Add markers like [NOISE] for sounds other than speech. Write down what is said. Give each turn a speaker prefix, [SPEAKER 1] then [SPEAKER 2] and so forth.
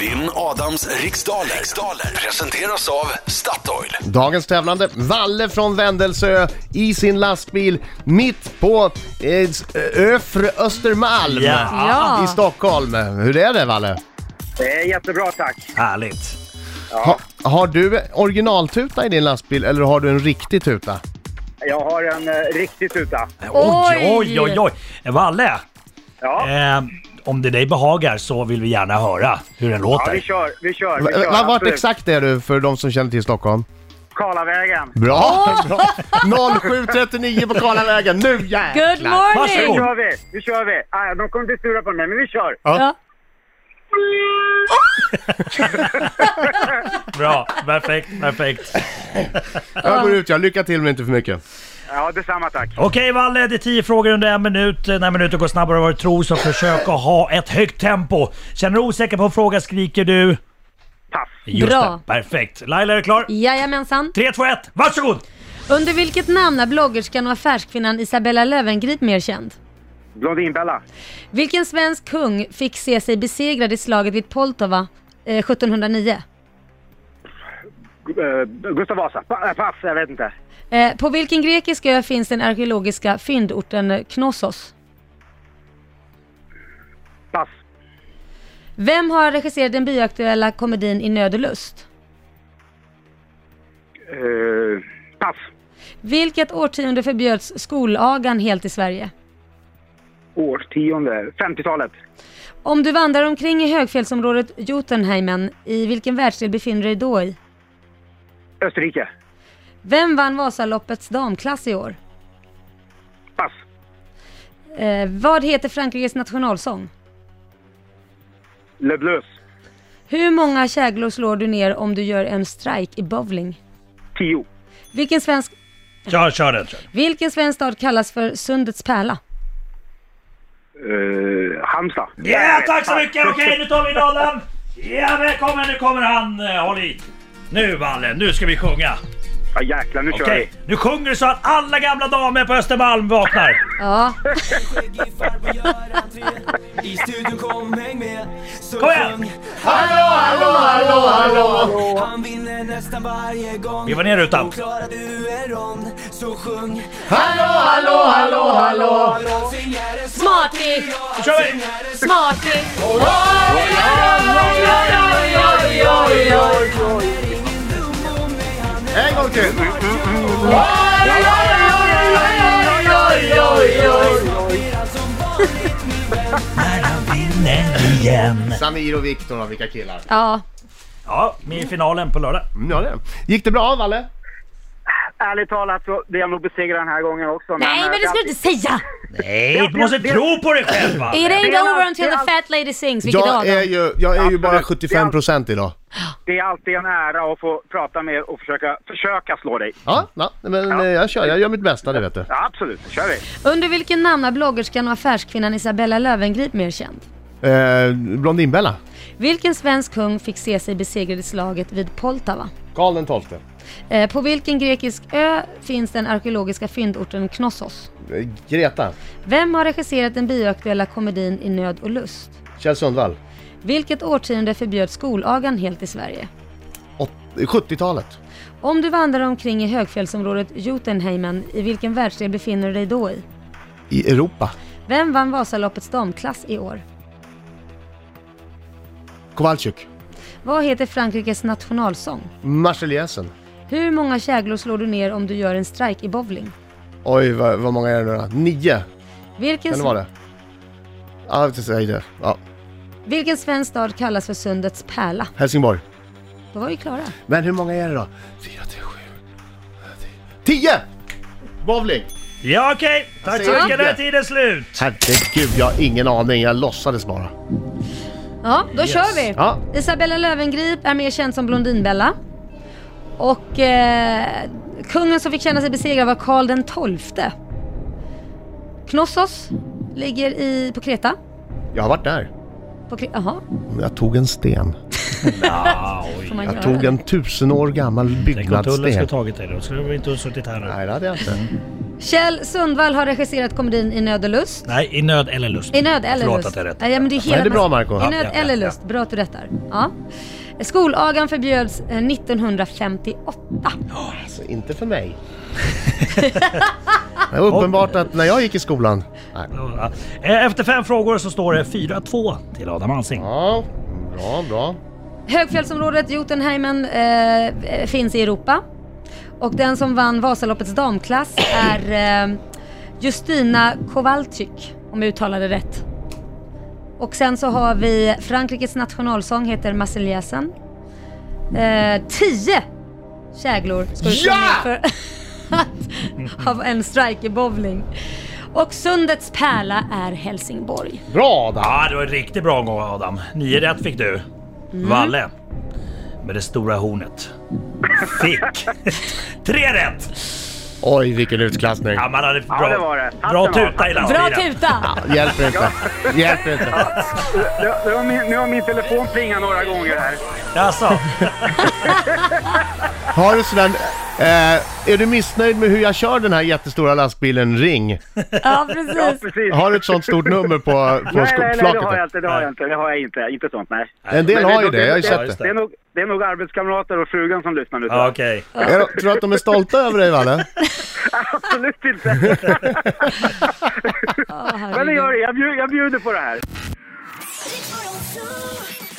[SPEAKER 1] Vinn Adams riksdaler. riksdaler presenteras av Statoil.
[SPEAKER 2] Dagens tävlande, Valle från Vändelsö i sin lastbil mitt på eh, s- ö- Öfre Östermalm
[SPEAKER 3] Ja.
[SPEAKER 4] Ja.
[SPEAKER 2] i Stockholm. Hur är det Valle?
[SPEAKER 5] Det är jättebra tack.
[SPEAKER 3] Härligt.
[SPEAKER 2] Ha, har du originaltuta i din lastbil eller har du en riktig tuta?
[SPEAKER 5] Jag har en eh, riktig tuta.
[SPEAKER 3] Oj, oj,
[SPEAKER 4] Oj.
[SPEAKER 3] oj, oj. Valle,
[SPEAKER 5] Ja,
[SPEAKER 3] eh, om det dig behagar så vill vi gärna höra hur den
[SPEAKER 5] ja vi
[SPEAKER 3] låter.
[SPEAKER 5] kör. Vi kör.
[SPEAKER 2] Va,
[SPEAKER 5] Vi
[SPEAKER 2] va-
[SPEAKER 5] kör
[SPEAKER 2] vart
[SPEAKER 5] absolut.
[SPEAKER 2] exakt är du för de som känner till Stockholm?
[SPEAKER 5] Karlavägen.
[SPEAKER 2] Bra! bra. 07.39 på Karlavägen, nu jäklar!
[SPEAKER 4] Good morning!
[SPEAKER 5] Nu
[SPEAKER 3] Varsågod.
[SPEAKER 5] kör vi. Nu kör vi. Ah, de kommer bli sura på mig, men vi kör.
[SPEAKER 4] Ja.
[SPEAKER 3] Bra, perfekt, perfekt.
[SPEAKER 2] Jag går ut jag, lycka till men inte för mycket.
[SPEAKER 5] Ja, detsamma tack.
[SPEAKER 3] Okej Valle, det är tio frågor under en minut. När minuten går snabbare än vad du tror så försök att ha ett högt tempo. Känner du osäker på en fråga skriker du...
[SPEAKER 5] Pass.
[SPEAKER 3] Just
[SPEAKER 4] Bra.
[SPEAKER 3] det, perfekt. Laila, är du klar?
[SPEAKER 4] Jajamensan.
[SPEAKER 3] 3, 2, 1, varsågod!
[SPEAKER 4] Under vilket namn är bloggerskan och affärskvinnan Isabella Löwengrip mer känd?
[SPEAKER 5] Blondinbella.
[SPEAKER 4] Vilken svensk kung fick se sig besegrad i slaget vid Poltava eh, 1709?
[SPEAKER 5] Gu- eh, Gustav Vasa. Pa- eh, pass, jag vet inte.
[SPEAKER 4] Eh, på vilken grekisk ö finns den arkeologiska fyndorten eh, Knossos?
[SPEAKER 5] Pass.
[SPEAKER 4] Vem har regisserat den bioaktuella komedin I nöd och lust?
[SPEAKER 5] Eh, pass.
[SPEAKER 4] Vilket årtionde förbjöds skolagan helt i Sverige?
[SPEAKER 5] Årtionde. 50-talet.
[SPEAKER 4] Om du vandrar omkring i högfjällsområdet Jotunheimen, i vilken världsdel befinner du dig då i?
[SPEAKER 5] Österrike.
[SPEAKER 4] Vem vann Vasaloppets damklass i år?
[SPEAKER 5] Pass.
[SPEAKER 4] Eh, vad heter Frankrikes nationalsång?
[SPEAKER 5] Le Bleus.
[SPEAKER 4] Hur många käglor slår du ner om du gör en strike i bowling?
[SPEAKER 5] 10.
[SPEAKER 4] Vilken svensk,
[SPEAKER 3] Kör, kör den. Kör.
[SPEAKER 4] vilken svensk stad kallas för Sundets pärla?
[SPEAKER 5] Eh, Halmstad.
[SPEAKER 3] Ja, tack så mycket! Okej, nu tar vi in Adam! Ja, välkommen! Nu kommer han! Eh, Håll i! Nu Valle, nu ska vi sjunga!
[SPEAKER 5] Ja, jäklar, nu kör vi.
[SPEAKER 3] Okej, nu sjunger du så att alla gamla damer på Östermalm vaknar!
[SPEAKER 4] Ja,
[SPEAKER 6] Skäggig farbror gör entré I studion kom häng med Så
[SPEAKER 3] Kom igen!
[SPEAKER 6] sjung. Han vinner nästan varje gång
[SPEAKER 3] Skriva ner rutan.
[SPEAKER 6] Och klarar du en rond Så sjung Allting är en
[SPEAKER 4] Smarty!
[SPEAKER 6] smart-
[SPEAKER 3] Nu kör vi!
[SPEAKER 6] är en
[SPEAKER 4] Smarty!
[SPEAKER 6] ingen dum om mig Han är
[SPEAKER 2] En gång till!
[SPEAKER 6] mer som vanligt min vän När han vinner
[SPEAKER 3] Nej, igen!
[SPEAKER 2] Samir och Viktor, vilka killar.
[SPEAKER 4] Ja,
[SPEAKER 3] Ja, med i finalen på lördag.
[SPEAKER 2] Mm, Ja, det. Gick det bra Valle?
[SPEAKER 5] Ärligt talat så blir jag nog besegrad den här gången också.
[SPEAKER 4] nej men
[SPEAKER 5] eh,
[SPEAKER 4] det ska du inte säga!
[SPEAKER 3] Nej, du måste tro på dig själv Valle!
[SPEAKER 4] It ain't
[SPEAKER 5] Det är
[SPEAKER 4] over
[SPEAKER 5] allt-
[SPEAKER 4] until
[SPEAKER 5] det är
[SPEAKER 4] the
[SPEAKER 5] allt-
[SPEAKER 4] fat lady sings, vilket
[SPEAKER 2] Jag är
[SPEAKER 4] Adam.
[SPEAKER 2] ju, jag är ju bara
[SPEAKER 5] Absolut.
[SPEAKER 2] 75% idag.
[SPEAKER 5] Det är alltid en ära att få prata med er och försöka, försöka slå dig.
[SPEAKER 2] Ja, na, men eh, jag kör. Jag gör mitt bästa, det vet du.
[SPEAKER 5] Ja, absolut, nu kör vi.
[SPEAKER 4] Under vilken namn är bloggerskan och affärskvinnan Isabella Löwengrip mer känd?
[SPEAKER 2] Eh, Blondinbella.
[SPEAKER 4] Vilken svensk kung fick se sig besegrad i slaget vid Poltava?
[SPEAKER 2] Karl den tolfte.
[SPEAKER 4] Eh, på vilken grekisk ö finns den arkeologiska fyndorten Knossos?
[SPEAKER 2] Eh, Greta.
[SPEAKER 4] Vem har regisserat den bioaktuella komedin I nöd och lust?
[SPEAKER 2] Kjell Sundvall.
[SPEAKER 4] Vilket årtionde förbjöd skolagan helt i Sverige?
[SPEAKER 2] Åt- 70-talet.
[SPEAKER 4] Om du vandrar omkring i högfjällsområdet Jotunheimen, i vilken världsdel befinner du dig då i?
[SPEAKER 2] I Europa.
[SPEAKER 4] Vem vann Vasaloppets damklass i år?
[SPEAKER 2] Kowalczyk.
[SPEAKER 4] Vad heter Frankrikes nationalsång?
[SPEAKER 2] Marseljäsen.
[SPEAKER 4] Hur många käglor slår du ner om du gör en strike i bowling?
[SPEAKER 2] Oj, vad, vad många är det nu då? Nio.
[SPEAKER 4] Vilken,
[SPEAKER 2] Kan det vara det? Ja, jag säger det. Ja.
[SPEAKER 4] vilken svensk stad kallas för Sundets pärla?
[SPEAKER 2] Helsingborg.
[SPEAKER 4] Då var vi klara.
[SPEAKER 2] Men hur många är det då? Fyra till sju. Tio! Bowling!
[SPEAKER 3] Ja, okej! Tack så
[SPEAKER 2] säger
[SPEAKER 3] mycket, nu är
[SPEAKER 2] inte.
[SPEAKER 3] tiden slut!
[SPEAKER 2] Herregud, jag har ingen aning. Jag låtsades bara.
[SPEAKER 4] Ja, då kör vi.
[SPEAKER 2] Ja.
[SPEAKER 4] Isabella Löwengrip är mer känd som Blondinbella. Och eh, kungen som fick känna sig besegrad var Karl den XII. Knossos ligger i, på Kreta.
[SPEAKER 2] Jag har varit där.
[SPEAKER 4] På Kre- Jaha,
[SPEAKER 2] Jag tog en sten.
[SPEAKER 4] får man göra
[SPEAKER 2] Jag tog
[SPEAKER 4] det?
[SPEAKER 2] en tusen år gammal
[SPEAKER 3] Tänk om tullen skulle
[SPEAKER 2] byggnadssten.
[SPEAKER 3] tagit dig då, skulle vi inte ha suttit här nu.
[SPEAKER 2] Nej, det hade jag inte.
[SPEAKER 4] Kjell Sundvall har regisserat komedin I nöd och lust.
[SPEAKER 3] Nej, i nöd eller lust.
[SPEAKER 4] I nöd eller
[SPEAKER 3] Förlåt
[SPEAKER 4] lust.
[SPEAKER 3] att jag rättade.
[SPEAKER 4] Nej, ja, men det är hela
[SPEAKER 2] Nej, det är bra, Marco.
[SPEAKER 4] I
[SPEAKER 2] Ja,
[SPEAKER 4] nöd
[SPEAKER 3] ja, ja,
[SPEAKER 4] eller
[SPEAKER 3] ja.
[SPEAKER 4] lust. Bra att du rättar. Ja. Skolagan förbjöds eh, 1958.
[SPEAKER 2] Alltså, inte för mig. det var uppenbart att när jag gick i skolan... Nej.
[SPEAKER 3] Ja. Eh, Efter fem frågor så står det 4-2 till Adam Alsing.
[SPEAKER 2] Ja, bra, bra.
[SPEAKER 4] Högfjällsområdet Jotunheimen eh, eh, finns i Europa. Och den som vann Vasaloppets damklass är eh, Justina Kowalczyk, om jag uttalade rätt. Och sen så har vi Frankrikes nationalsång heter Marseljäsen. Eh, tio käglor ska du slå
[SPEAKER 2] Ja!
[SPEAKER 4] ner för [LAUGHS] att ha en strike i bowling. Och Sundets pärla är Helsingborg.
[SPEAKER 2] Bra Adam!
[SPEAKER 3] Ja, det var en riktigt bra gång Adam. Nio rätt fick du. Valle med det stora hornet fick [LAUGHS] tre rätt!
[SPEAKER 2] Oj, vilken utklassning.
[SPEAKER 3] Ja, man hade bra,
[SPEAKER 5] det var det. Hatten
[SPEAKER 3] bra
[SPEAKER 5] av,
[SPEAKER 3] tuta i
[SPEAKER 5] hatten av.
[SPEAKER 4] Bra
[SPEAKER 3] lastbilen.
[SPEAKER 4] tuta!
[SPEAKER 2] Hjälper inte. Hjälper inte.
[SPEAKER 5] Det, det var min, nu har min telefon plingat några gånger här.
[SPEAKER 3] Jaså?
[SPEAKER 2] Har du sådär... Eh, är du missnöjd med hur jag kör den här jättestora lastbilen? Ring.
[SPEAKER 4] Ja,
[SPEAKER 5] Ja,
[SPEAKER 4] precis.
[SPEAKER 5] precis.
[SPEAKER 2] Har du ett sånt stort nummer på, på
[SPEAKER 5] nej, nej, nej, det har jag
[SPEAKER 2] flaket?
[SPEAKER 5] inte. Det har jag inte. Det har jag inte. Inte sånt, nej.
[SPEAKER 2] En del
[SPEAKER 5] Men
[SPEAKER 2] har ju
[SPEAKER 5] det-
[SPEAKER 2] det, jag har ju
[SPEAKER 5] det-
[SPEAKER 2] sett
[SPEAKER 5] Det
[SPEAKER 2] det.
[SPEAKER 5] är nog, det är nog arbetskamrater och frugan som lyssnar nu. tror
[SPEAKER 3] Ja,
[SPEAKER 5] jag.
[SPEAKER 3] Okej.
[SPEAKER 2] Är de- Tror du att de är stolta över dig Valle?
[SPEAKER 5] Absolut inte.
[SPEAKER 4] Ja,
[SPEAKER 5] Men det
[SPEAKER 4] herregud.
[SPEAKER 5] gör det. Jag bjuder, jag bjuder på det här.
[SPEAKER 7] Riks-FM.